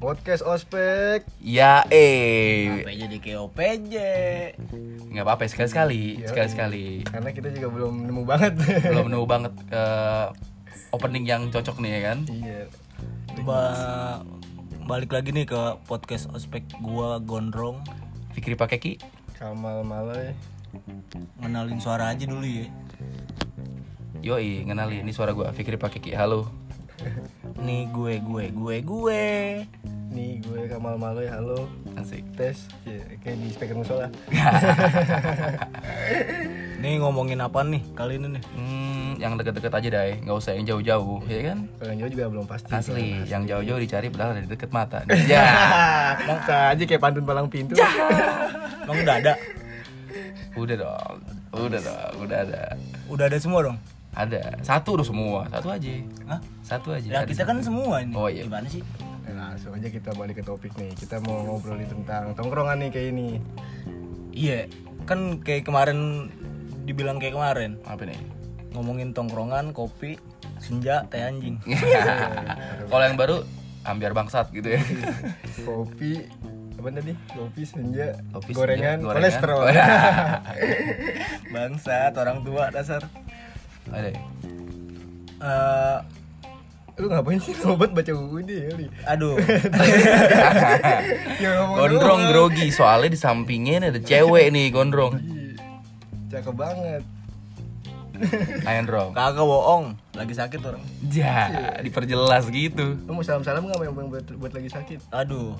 Podcast Ospek. Ya eh Sampai jadi kayak OPJ. nggak apa-apa sekali-sekali Iya. Sekali-sekali Karena kita juga belum nemu banget. Belum nemu banget eh, opening yang cocok nih ya kan iya. Ba- balik lagi nih ke podcast ospek gua gondrong. Fikri pakai ki Kamal Malai. Ngenalin suara aja dulu ya. Yoi ngenali ini suara gua Fikri pakai ki halo Nih gue gue gue gue. Nih gue Kamal Malai. Halo. Asik Tes. Ya, kayak di speaker musola. Nih ngomongin apa nih kali ini nih? Hmm, yang deket-deket aja deh, nggak usah yang jauh-jauh, ya kan? Kalau yang jauh juga belum pasti. Asli, yang jauh-jauh dicari padahal ada di deket mata. Ya, Ah, Bisa aja kayak pantun palang pintu. Emang udah ada? udah dong, udah dong, udah ada. Udah ada semua dong. Ada satu udah semua, satu aja, Hah? satu aja. Ya Iya, Ada kita kan semua ini. Oh, iya. Gimana sih? Nah, langsung aja kita balik ke topik nih. Kita mau ngobrolin tentang tongkrongan nih kayak ini. Iya, kan kayak kemarin dibilang kayak kemarin apa nih? ngomongin tongkrongan, kopi, senja, teh anjing. Kalau yang baru ambiar bangsat gitu ya. Kopi apa tadi? Kopi senja, Kopi, gorengan, senja, kolesterol. Bangsat orang tua dasar. Ada. ya? Eh, Lu ngapain sih sobat baca buku ini ya? Li? aduh, Ya ngomong Gondrong doang. grogi soalnya di sampingnya ini ada cewek nih gondrong. Ih, Cakep banget. Ayan Rom. kagak bohong, lagi sakit orang. Ya, diperjelas gitu. Lu mau salam-salam nggak sama yang buat, buat lagi sakit? Aduh,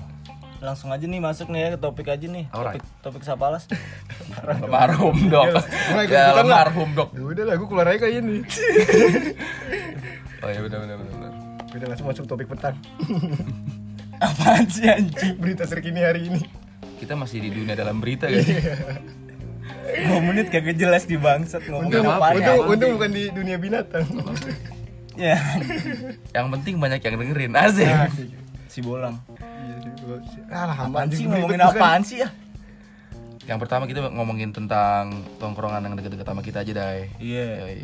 langsung aja nih masuk nih ya ke topik aja nih. Alright. Topik topik sapalas. Almarhum Nggak dok. Ya, ikut-ikutan Iya. lah. almarhum dok. Ya udah lah, gue keluar aja kayak ini. Oh iya benar benar benar, benar. Ya udah langsung masuk topik petang. Apaan sih anjing? Berita terkini hari ini. Kita masih di dunia dalam berita Iya. guys. 2 menit kagak jelas di bangsat ngomongin Nggak apa-apa, apaan ya. Untung, untung bukan di dunia binatang. Ya. yang penting banyak yang dengerin. Asik. Si bolang. Nah, Iya, sih, gua- Alah, anjing, Apaan kan? sih gua ngomongin ikut bukan. apaan sih ya? Yang pertama kita ngomongin tentang tongkrongan yang deket-deket sama kita aja, Dai. Iya. Yoi.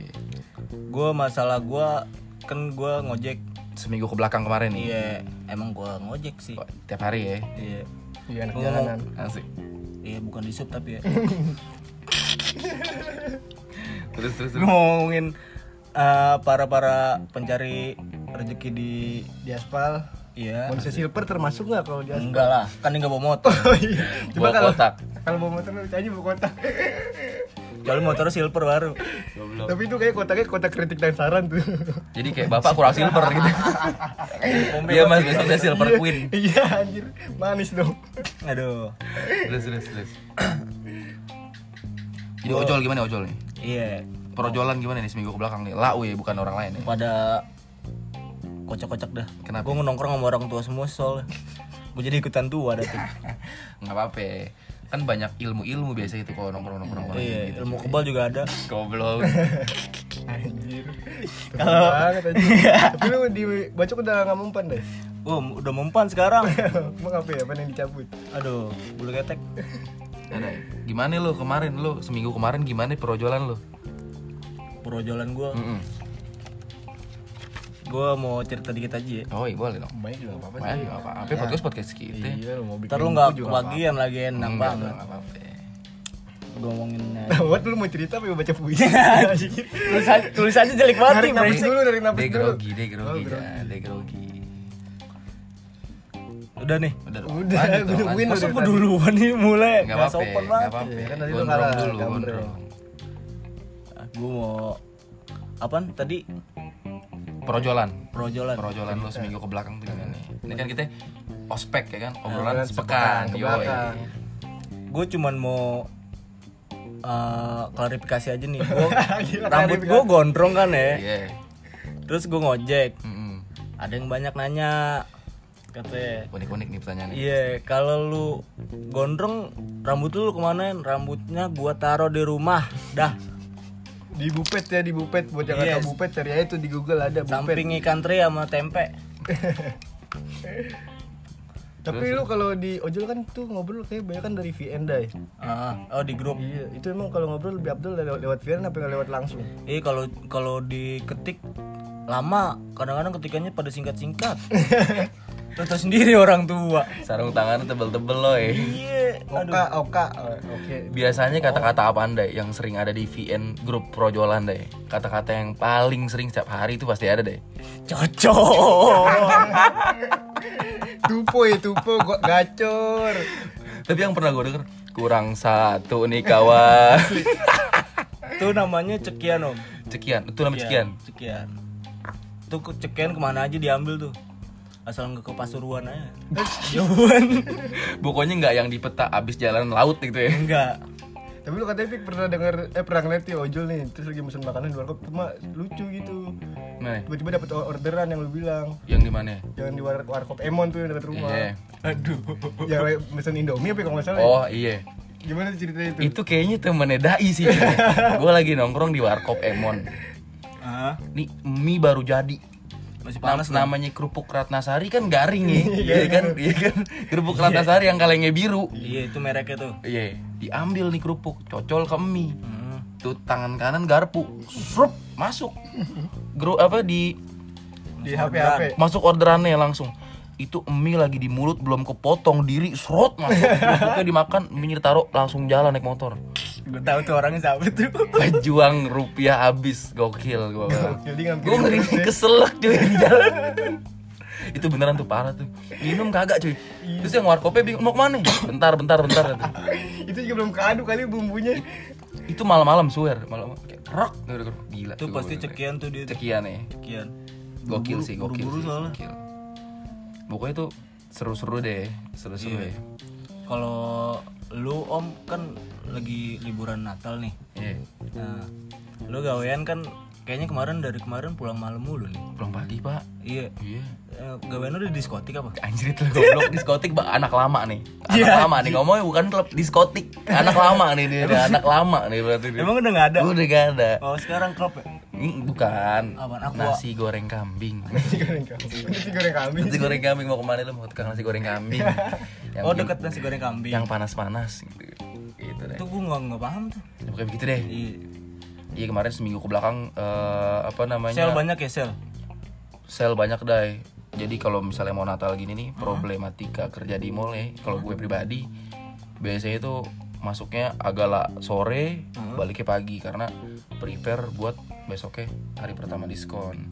Gua masalah gua kan gua ngojek. Seminggu ke belakang kemarin nih. Iya, emang gua ngojek sih. Wah, Tiap hari ya. Iya. Iya, anak Ngomong. jalanan. Asik. Iya, bukan di sub tapi ya. Terus terus Gua terus. ngomongin eh, para-para pencari rezeki di Di aspal. Iya. Manusia silver termasuk nggak kalau di aspal? Enggak lah, kan enggak bawa motor. Oh, iya. Coba Bawa kalau kotak. kalau bawa motor lu tanya bawa kotak. Kecuali motor silver baru. Goblok. Tapi itu kayak kotaknya kotak kritik dan saran tuh. Jadi kayak bapak kurang silver gitu. Iya mas, biasanya silver queen. Iya anjir, manis dong. Aduh. Terus terus terus. Jadi ojol gimana ojol nih? Iya, Perojolan gimana nih seminggu ke belakang nih? Lau ya bukan orang lain ya. pada kocak-kocak dah. Kenapa? Gue nongkrong sama orang tua semua soalnya. Gue jadi ikutan tua dah tuh. Ah, Nggak apa-apa. Kan banyak ilmu-ilmu biasa itu kalau nongkrong-nongkrong orang iya, gitu. ilmu kebal juga ada. Goblok. Anjir. Kalau Ya. banget anjir. Tapi lu di bacok udah nggak mempan deh. Oh, udah mempan sekarang. Emang apa ya? Apa yang dicabut? Aduh, bulu ketek. Ada. Gimana lo kemarin lo seminggu kemarin gimana perojolan lo? Perojolan gue. Mm-mm. Gue mau cerita dikit aja ya. Oh iya boleh dong. Baik juga apa-apa Banyak nggak apa-apa. Tapi podcast podcast kita. Iya, lu mau bikin. Ntar lu nggak kebagian lagi enak Nggak banget. Hmm, nggak apa-apa. Gue ngomongin. Buat lu mau cerita apa mau baca puisi? tulisan tulisannya jelek banget nih, Nafis brengsek. dulu dari nafis Dia dulu. Oh, grogi, dia grogi, dah, dia grogi. Udah nih. Udah dong. Udah, lanjut udah dong, win lanjut. Masa gue duluan nih mulai Nggak Nggak apa-apa, sopan nggak banget apa-apa. Iya, kan tadi lu Gondrong kalah, dulu, gambreng. gondrong. Gue mau Apaan tadi? Perojolan. Perojolan Perojolan lo seminggu ke belakang tuh gimana nih? Ini kan kita ospek ya kan, obrolan Obrolan sepekan. sepekan, Yo, kebelakang. Gue cuman mau eh, Klarifikasi aja nih gua, Gila, Rambut gue gondrong kan ya Iya. Terus gue ngojek Mm-mm. Ada yang banyak nanya ya? Katanya Unik-unik nih pertanyaannya. Iya, kalau lu gondrong rambut lu kemanain? Rambutnya gua taruh di rumah. Dah, Di Bupet ya, di Bupet buat yang ada Yes. Bupet cari aja tuh di Google ada Bupet. samping ikan teri sama tempe. Tapi lu kalau di ojol kan tuh ngobrol kayak banyak kan dari VN dai. Ah, oh di grup Iya, itu emang kalau ngobrol lebih abdul lewat, lewat VN apa lewat langsung? eh kalau kalau diketik lama kadang-kadang ketikannya pada singkat-singkat Lu tahu sendiri orang tua Sarung tangan tebel-tebel loh eh. iya Oka, oka, eh, oke. Biasanya kata-kata apa anda yang sering ada di VN grup projolan deh? Kata-kata yang paling sering setiap hari itu pasti ada deh. cocok Tupo ya tupo, gua gacor. Tapi yang pernah gue denger kurang satu nih kawan. itu namanya cekian om cekian, itu namanya cekian. cekian tuh ke- cekian kemana aja diambil tuh asal nggak ke pasuruan aja jauhan Pokoknya nggak yang di peta abis jalan laut gitu ya. enggak Tapi lu katanya Pik pernah denger eh pernah ngeliat ya ojol nih, terus lagi pesen makanan di warkop cuma lucu gitu. Nah, Tiba-tiba dapat orderan yang lu bilang. yang di mana? Jangan di war- warkop Emon tuh yang dekat rumah. Iya. aduh Yang kayak pesen Indomie apa ya, kalau nggak salah. ya? Oh iya. Gimana tuh ceritanya itu? Itu kayaknya temennya Dai sih. gue lagi nongkrong di warkop Emon. ah Nih mie baru jadi. masih Nam- panas nih namanya kerupuk Ratnasari kan garing ya. Iya kan? Iya kan? Kerupuk Ratnasari yang kalengnya biru. iya itu mereknya tuh Iya, diambil nih kerupuk, cocol ke mie. Hmm. Tuh tangan kanan garpu. Srup, masuk. Gro apa di Di HP HP. masuk orderannya langsung. Itu mie lagi di mulut belum kepotong diri srot masuk. Kerupuknya dimakan, mie ditaruh langsung jalan naik motor. gue tahu tuh orangnya siapa tuh Pejuang rupiah habis gokil gua. bilang. Jadi ngambil Gue ngeri keselak cuy di jalan. itu beneran tuh parah tuh minum kagak cuy Iya. terus yang warkopnya bingung mau kemana bentar bentar bentar kata. itu juga belum keaduk kali bumbunya. itu malam-malam swear malam kayak rock gitu, gitu. gila tuh tuh pasti gua. cekian tuh dia tuh. cekian ya cekian gokil sih gokil buru-buru sih soalnya. gokil. pokoknya tuh seru-seru deh seru-seru ya Iya. kalau lu om kan lagi liburan Natal nih Iya. nah lu gawean kan kayaknya kemarin dari kemarin pulang malam mulu nih pulang pagi pak iya iya Eh, gawean lu di diskotik apa anjir itu goblok diskotik pak anak lama nih anak Iya. lama nih ngomongnya bukan klub diskotik anak lama nih dia dia anak lama nih berarti dia emang udah nggak ada Gua udah gak ada oh sekarang klub ya Hmm, bukan Apaan? Aqua. nasi goreng kambing Nasi goreng kambing. Nasi goreng kambing. nasi goreng kambing mau kemana lu mau tukang nasi goreng kambing yang oh deket nasi goreng kambing yang panas-panas gitu gitu deh itu gue nggak nggak paham tuh Ya, Pokoknya begitu deh. Iya kemarin seminggu ke belakang eh, apa namanya? sel banyak ya sel Sel banyak dai. Jadi kalau misalnya mau Natal gini nih, problematika kerja di mall ya. Kalau gue pribadi biasanya itu masuknya agak lah sore, baliknya pagi karena prepare buat besoknya hari pertama diskon.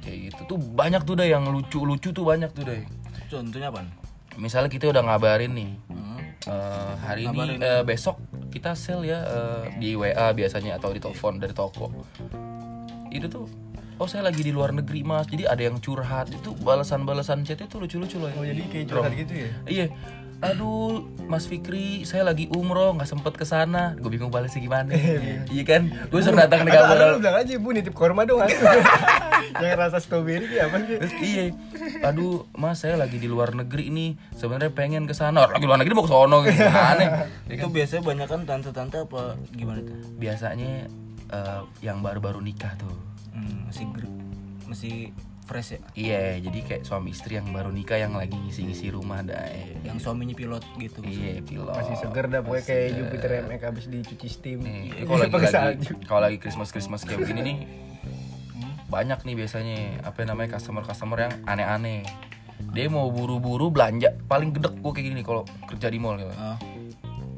Kayak gitu tuh banyak tuh deh yang lucu-lucu tuh banyak tuh deh. contohnya apa Misalnya kita udah ngabarin nih, hmm. Eh, hari ini eh, besok kita sel ya eh, di WA biasanya atau di telepon dari toko itu tuh oh saya lagi di luar negeri mas jadi ada yang curhat itu balasan-balasan chat itu lucu-lucu loh Oh jadi kayak curhat gitu ya? iya aduh Mas Fikri saya lagi umroh nggak sempet kesana gue bingung balasnya gimana iya kan gue suruh datang ke Atau- atau kabar lu bilang aja ibu nitip korma dong atuh." Yang rasa stroberi kayak apa sih? Terus, iya aduh mas saya lagi di luar negeri nih sebenarnya pengen kesana Orang lagi luar negeri mau kesono gitu aneh Iya itu biasanya banyak kan tante-tante apa gimana tuh biasanya eh, yang baru-baru nikah tuh Hmm, masih ger- masih fresh ya iya jadi kayak suami istri yang baru nikah yang lagi ngisi-ngisi rumah dah yang suaminya pilot gitu iya pilot Masih seger dah pokoknya kayak Jupiter MX abis dicuci steam. Nih, Iya, kalau lagi, pakai lagi salju. kalau lagi Christmas Christmas kayak begini nih banyak nih biasanya apa namanya customer customer yang aneh-aneh dia mau buru-buru belanja paling gedek gue kayak gini nih kalau kerja di mall gitu. Ah,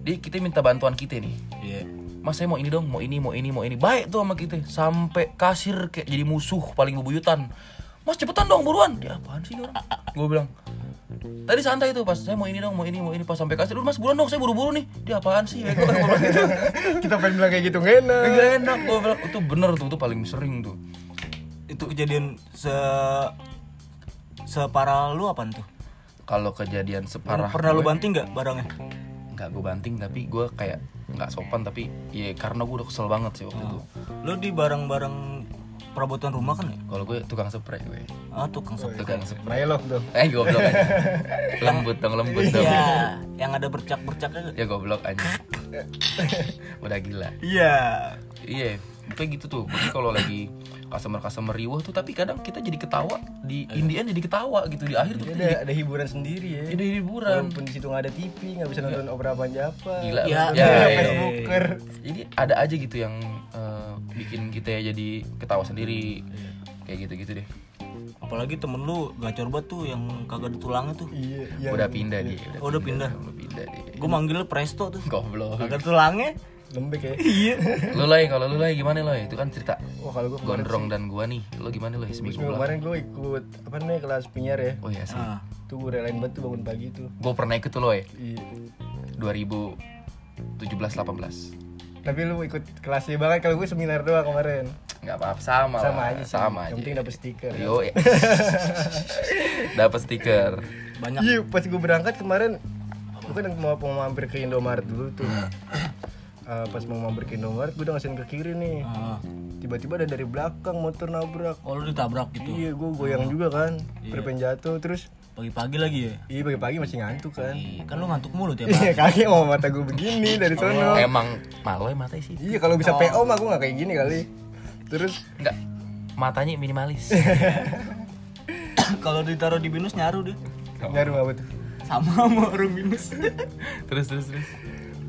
dia kita minta bantuan kita nih iya Mas saya mau ini dong, mau ini, mau ini, mau ini. Baik tuh sama kita. Sampai kasir kayak jadi musuh paling bebuyutan. Mas cepetan dong buruan. Dia apaan sih ini orang? Gue bilang. Tadi santai tuh pas saya mau ini dong, mau ini, mau ini pas sampai kasir. Udah mas buruan dong, saya buru-buru nih. Dia apaan sih? Bego kan gua bilang gitu. Kita pengen bilang kayak gitu nggak enak. Gak enak gue bilang. Itu bener tuh, itu paling sering tuh. itu kejadian se separah lu apa tuh Kalau kejadian separah pernah lu banting nggak barangnya nggak gue banting tapi gue kayak nggak sopan tapi ya karena gue udah kesel banget sih waktu itu lu di barang-barang perabotan rumah kan ya kalau gue tukang spray gue ah tukang sepeda tukang spray Mailok tuh. eh goblok aja lembut dong lembut dong iya yang ada bercak-bercaknya nggak? ya goblok aja udah gila iya iya kayak gitu tuh jadi kalau lagi customer customer riuh tuh tapi kadang kita jadi ketawa di Indian jadi ketawa gitu di akhir tuh Jadi kita ada, jadi ada hiburan Iya. sendiri ya jadi hiburan walaupun di situ nggak ada TV nggak bisa nonton opera panjapa Gila, ya, ya, ya, ya. Facebooker jadi ada aja gitu yang eh, bikin kita jadi ketawa sendiri kayak gitu gitu deh Apalagi temen lu gacor banget tuh yang kagak ada tulangnya tuh. iya iya udah pindah dia Oh, udah pindah. udah pindah dia Gue manggilnya Presto tuh. goblok Kagak ada tulangnya. lembek ya lu lagi kalau lu lagi gimana loh itu kan cerita wah kalau gue kemarin gondrong dan gua nih lu gimana loh seminggu Seminggu lah kemarin gue ikut apa nih kelas penyiar ya oh iya sih Ah. tuh gue relain banget tuh bangun pagi tuh gua pernah ikut tuh loh ya iya 2017 18 tapi lu ikut kelasnya banget kalau gue seminar doang kemarin nggak apa-apa sama sama lah. aja sih sama yang aja penting dapet stiker Yo, ya. dapat stiker Banyak Iya, pas gue berangkat kemarin gue kan mau, mau mampir ke Indomaret dulu tuh. Eh, pas mau mampir ke Indomaret, gue udah ngasihin ke kiri nih. Ah. Tiba-tiba ada dari belakang motor nabrak. Oh lu ditabrak gitu. Iya, gue goyang juga kan. Berpen jatuh terus. Pagi-pagi lagi ya. Iya, pagi-pagi masih ngantuk kan. Kan lu ngantuk mulu tiap hari. Iya, kaget mau mata gue begini dari sono. emang malu ya matanya sih Iya, kalau bisa PO mah gue gak kayak gini kali. Terus nggak matanya minimalis Kalau ditaruh di minus nyaru deh. nyaru apa tuh? Sama sama orang minus. terus terus terus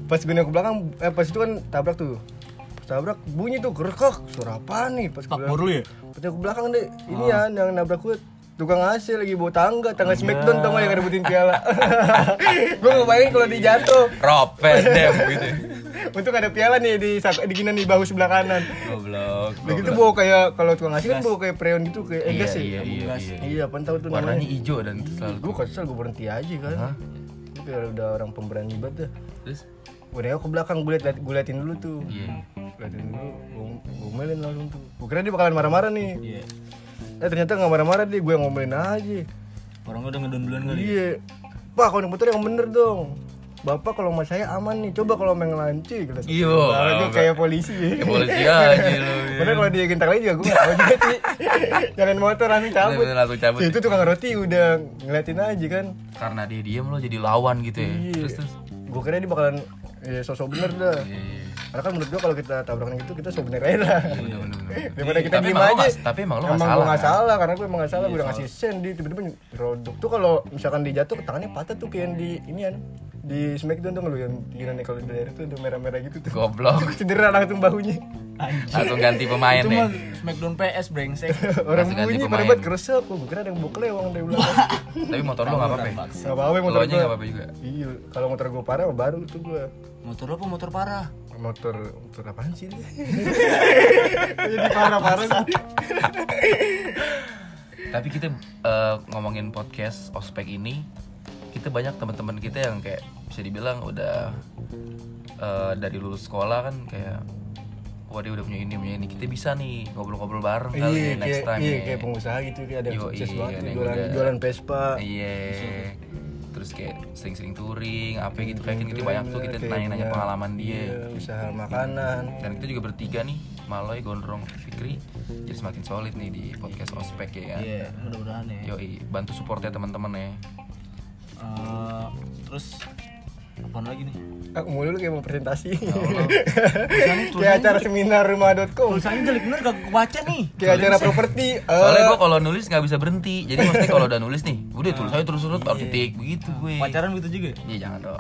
Pas gue nengok ke belakang, eh pas itu kan tabrak tuh. Pas tabrak bunyi tuh gerkak. Suara apa nih? Pas gue Pak Bor lu ya? Pecah ke belakang deh. Ini ya yang nabrak gue tukang AC lagi bawa tangga, tangga Smackdown tau gak yang rebutin piala. gue ngebayangin kalau dia jatuh. Rob Van Dam gitu Untuk ada piala nih di sak- di ginan di bahu sebelah kanan. goblok Begitu bawa kayak kalau tukang AC kan bawa kayak preon gitu kayak eh, iya gas ya. iya iya, Gas. iya. Iya, apaan tau tuh warnanya namanya. hijau dan itu selalu Gue kesel gue berhenti aja kan. Itu kayak udah orang pemberani banget dah. terus Gue nengok ke belakang gue liat, gue liatin dulu tuh. iya Liatin dulu, gue- gue melin langsung tuh. Gue kira dia bakalan marah-marah nih. Iya. Eh ternyata gak marah-marah dia, gue yang ngomelin aja. Orangnya udah ngedon duluan kali. Iya. Pak, kalau naik motor yang bener dong. Bapak kalau sama saya aman nih. Coba kalau main ngelanci gitu. Iya, Kalau itu Bapak. kayak polisi. Ya. polisi aja lu Bener kalau dia gentak lagi juga gue gak tau juga sih. Nyalain motor langsung cabut. Bener-bener langsung cabut. Itu tukang roti udah ngeliatin aja kan. karena dia diem lo jadi lawan gitu ya Iya. terus terus Gue kira dia bakalan ya, sosok bener dah. Iya, iya. Karena kan menurut gue kalau kita tabrakan gitu kita sok bener aja lah. Bener, bener, bener. Daripada kita tapi diem emang lo aja. nggak- tapi emang lo emang nggak salah, gue nggak kan? salah karena gue emang nggak salah. Gue udah ngasih sen dia tiba-tiba rodok tuh kalau misalkan dia jatuh tangannya patah tuh kayak yang di inian di Smackdown tuh lu yang gimana kalau di daerah tuh udah merah-merah gitu tuh. goblok Cedera langsung bahunya. langsung ganti pemain ya. Itu nih mah Smackdown PS brengsek. Orang Langsung ganti bunyi pemain. berbat keresek. Gue kira ada yang bawa kelewang dari belakang. tapi motor lo nggak apa-apa ya? Gak apa-apa yang lo motor aja gue. nggak apa-apa juga Iya, kalau motor gue parah baru tuh gue Motor lu apa motor parah? motor motor apaan sih ini? Jadi parah-parah. tapi kita eh, ngomongin podcast ospek ini kita banyak teman-teman kita yang kayak bisa dibilang udah eh, dari lulus sekolah kan kayak wah dia udah punya ini punya ini kita bisa nih ngobrol-ngobrol bareng kali ya Iya, next kayak, time iya, ya. kayak pengusaha gitu kayak ada yang Yoi, sukses banget ada tuh, yang jualan, udah- jualan Vespa. Iya. Terus kayak sering-sering touring, apa gitu kayak kan kita banyak tuh kita nanya-nanya pengalaman dia. Iya, usaha makanan. Dan kita juga bertiga nih, Maloy, Gondrong, Fikri. Jadi semakin solid nih di podcast Ospek ya kan. Iya, mudah-mudahan ya. Yoi, bantu support ya teman-teman ya. Eh, terus apaan lagi nih? Aku mulu lu kayak mau presentasi. Oh. Tulisannya kayak acara seminar rumah.com. tulisannya jelek bener gak kebaca nih. Kayak acara properti. eh. Soalnya gue kalau nulis nggak bisa berhenti. Jadi maksudnya kalau udah nulis nih, udah tulis aja terus terus taruh titik begitu gue. Pacaran gitu juga. ya? Iya jangan dong.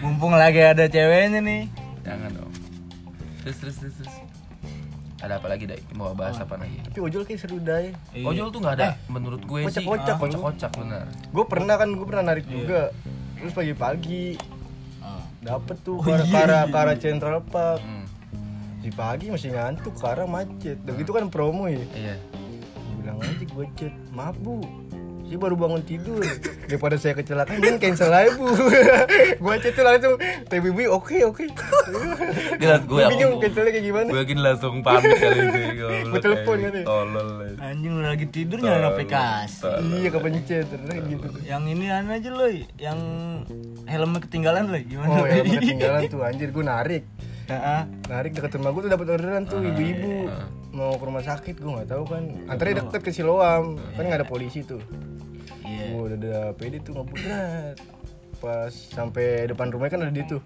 Mumpung lagi ada ceweknya nih. Jangan dong. Terus terus terus. terus. Ada apa lagi, Dai? Mau bahas apa lagi? Tapi ojol kayak seru dai. Ojol tuh nggak ada, menurut gue sih. kocak-kocak, Ah, Iya. Eh. kocak-kocak bener. Gue pernah kan, gue pernah narik juga. Iya. Terus pagi-pagi Ah. dapet tuh ke arah ke arah- ke arah Central Park. Di pagi masih ngantuk, ke arah macet. Dan gitu kan promo ya. Iya. Gua bilang aja gue chat maaf bu saya baru bangun tidur daripada saya kecelakaan mending cancel aja bu gue chat tuh langsung TBB oke oke Dia liat gue Gua aku- bingung cancelnya kayak gimana Gue yakin langsung pamit kali itu Gua telepon kan ya. Tolol Anjing lu lagi tidur nyalain aplikasi. iya kepencet ternyata kayak gitu Yang ini aneh aja loh, yang helmnya ketinggalan loh. Gimana? oh Loy? ya ketinggalan tuh anjir gue narik Heeh. narik deket rumah gue tuh dapat orderan tuh ibu-ibu mau ke rumah sakit gue Ah, iya. nggak tahu kan antarnya deket ke Siloam kan nggak ada polisi tuh Iya. Gue udah ada PD tuh ngebudrat Ah. Pas sampai depan rumahnya kan ada dia tuh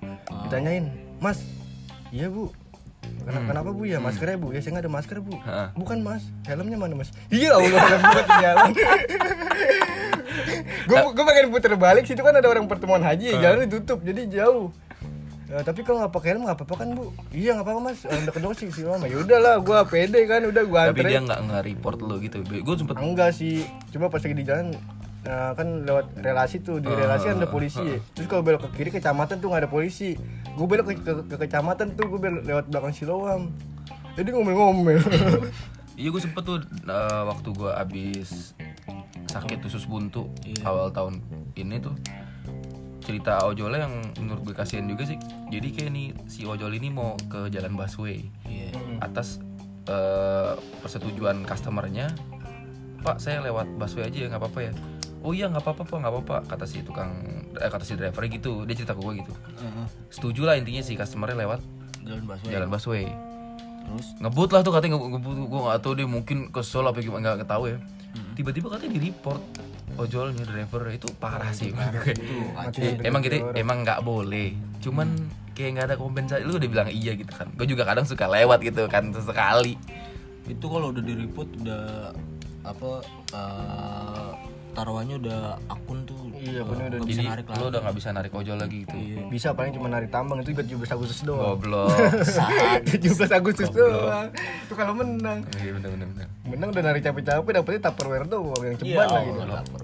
Ditanyain, mas Iya bu Ken- Kenapa bu ya maskernya bu? Ya saya nggak ada masker bu. Ha. Bukan mas, helmnya mana mas? Iya Allah helm gua ketinggalan. gue Nah. gue pengen puter balik situ kan ada orang pertemuan haji ya, jalan ditutup jadi jauh. Ya, tapi kalau nggak pakai helm nggak apa-apa kan bu? Iya nggak apa-apa mas. Orang deket dong sih sih lama. Ya udahlah, gue pede kan udah gue Tapi anterin. dia nggak nggak report lo gitu. Gue sempet Enggak sih, coba pas lagi di jalan nah, kan lewat relasi tuh di Ah. relasi kan ada polisi. Terus kalau belok ke kiri kecamatan tuh nggak ada polisi. Gue belok ke, ke- ke kecamatan tuh gue belok lewat belakang Siloam. Jadi ngomel-ngomel. Iya gue sempet tuh eh, waktu gue abis sakit usus buntu awal tahun ini tuh cerita ojolnya yang menurut gue kasihan juga sih. Jadi kayak nih si ojol ini mau ke jalan busway Iya. atas eh, persetujuan customernya. Pak saya lewat busway aja ya nggak apa-apa ya. Oh iya nggak apa-apa pak nggak apa-apa kata si tukang eh, kata si driver gitu dia cerita ke gue gitu. Heeh. Setuju lah intinya si customernya lewat Jalan busway. jalan busway Terus ngebut lah tuh katanya nge- ngebut gue gak tau deh mungkin kesel apa gimana nggak ketahui ya Hmm. tiba-tiba katanya di report ojolnya driver itu parah sih Oke. Eh, emang gitu emang nggak boleh Hmm. cuman kayak nggak ada kompensasi lu udah bilang iya gitu kan gue juga kadang suka lewat gitu kan sesekali itu kalau udah di report udah apa eh, taruhannya udah akun tuh. Iya, bener, udah udah bisa jadi narik lu lagi. Iya. udah nggak bisa narik ojol lagi gitu Bisa paling cuma nari tambang itu juga 17 Agustus doang. goblok 17 Agustus doang. Itu kalau menang. iya bener bener bener Menang udah nari capek-capek dapetnya Tupperware doang yang gitu. Iya, ceban lagi. Allah, lapar.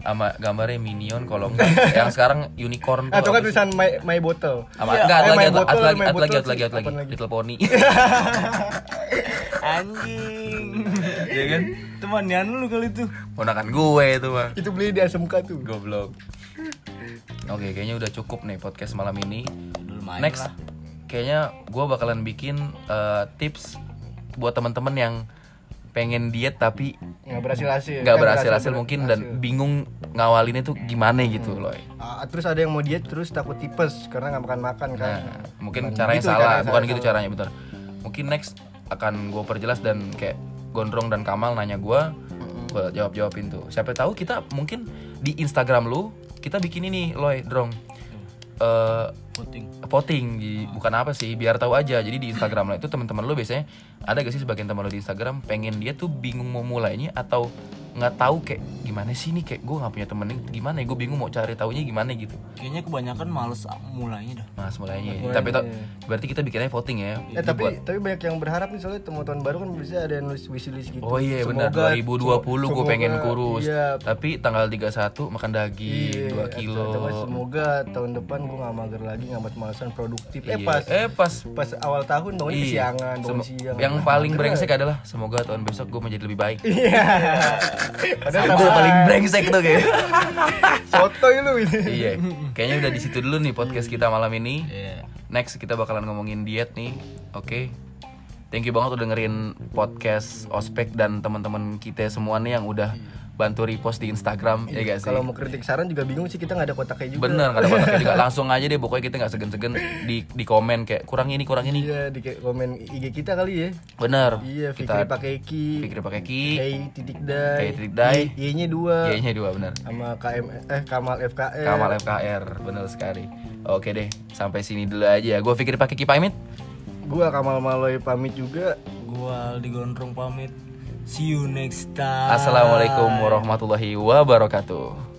sama gambarnya minion kalau enggak yang sekarang unicorn tuh Atau kan apa sih? tulisan my, my bottle. sama enggak ada Eh, my lagi ada bottle, lagi my ada lagi bottle ada lagi ada sih. Apaan lagi little pony Anjing. Iya kan? Temannya anu lu kali tuh. ponakan gue itu bang Itu beli di SMK tuh. goblok oke kayaknya udah cukup nih podcast malam ini Udah lumayan next lah. kayaknya gue bakalan bikin eh, tips buat temen-temen yang pengen diet tapi Nggak Eh, berhasil hasil. Iya. nggak berhasil hasil mungkin dan bingung ngawalinnya tuh gimana gitu loh Ah, terus ada yang mau diet terus takut tipes karena nggak makan makan kan. nah mungkin Bukan caranya gitu, salah caranya bukan salah, gitu caranya bentar mungkin next akan gue perjelas dan kayak Gondrong dan Kamal nanya gue Hmm. gue jawab jawabin tuh siapa tahu kita mungkin di Instagram lu kita bikin ini loy drong Eh, Voting. voting di- bukan apa sih biar tahu aja jadi di Instagram lah itu teman-teman lo biasanya ada gak sih sebagian teman lo di Instagram pengen dia tuh bingung mau mulainya atau nggak tahu kayak gimana sih nih kayak gue nggak punya temen nih, gimana ya gue bingung mau cari taunya gimana gitu Kayaknya kebanyakan males mulainya dah. mas mulainya ya. tapi tau- berarti kita bikinnya voting ya Eh, Itu tapi buat- tapi banyak yang berharap nih soalnya teman-teman baru kan bisa ada yang nulis wishlist gitu. oh iya benar Semoga- 2020 gue semoga- pengen kurus Iya. tapi tanggal 31 makan daging Iya, 2 kilo atau- atau semoga tahun depan gue nggak mager lagi nggak males-malesan produktif. Eh Iya. pas eh pas pas awal tahun bangun Iya. siangan, bangun Semo- siang. yang paling brengsek adalah semoga tahun besok gue menjadi lebih baik Iya. Padahal Gue tambahan. paling brengsek tuh kayak. sotoy ya lu ini. iya. Kayaknya udah di situ dulu nih podcast kita malam ini. Iya. Next kita bakalan ngomongin diet nih. Oke. Thank you banget udah dengerin podcast Ospek dan teman-teman kita semua nih yang udah bantu repost di Instagram ya guys. Iya, Kalau gitu. mau kritik saran juga bingung sih kita nggak ada kotaknya juga. Bener kata kata juga langsung aja deh pokoknya kita nggak segan-segan di di komen kayak kurang ini kurang ini. Iya di komen IG kita kali ya. Bener. Iya, Fikri kita pakai Ki. pikir pakai ki, Hey titik dai. Hey titik dai. Y- Y-nya dua. Y-nya dua bener. Sama KM eh Kamal FKM. Kamal FKR bener sekali. Oke deh, sampai sini dulu aja. Gue pikir pakai ki pamit. Gua Kamal Maloy pamit juga. Gua Aldi Gondrong pamit. See you next time. Assalamualaikum warahmatullahi wabarakatuh.